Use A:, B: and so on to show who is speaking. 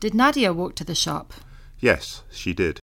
A: Did Nadia walk to the shop?
B: Yes, she did.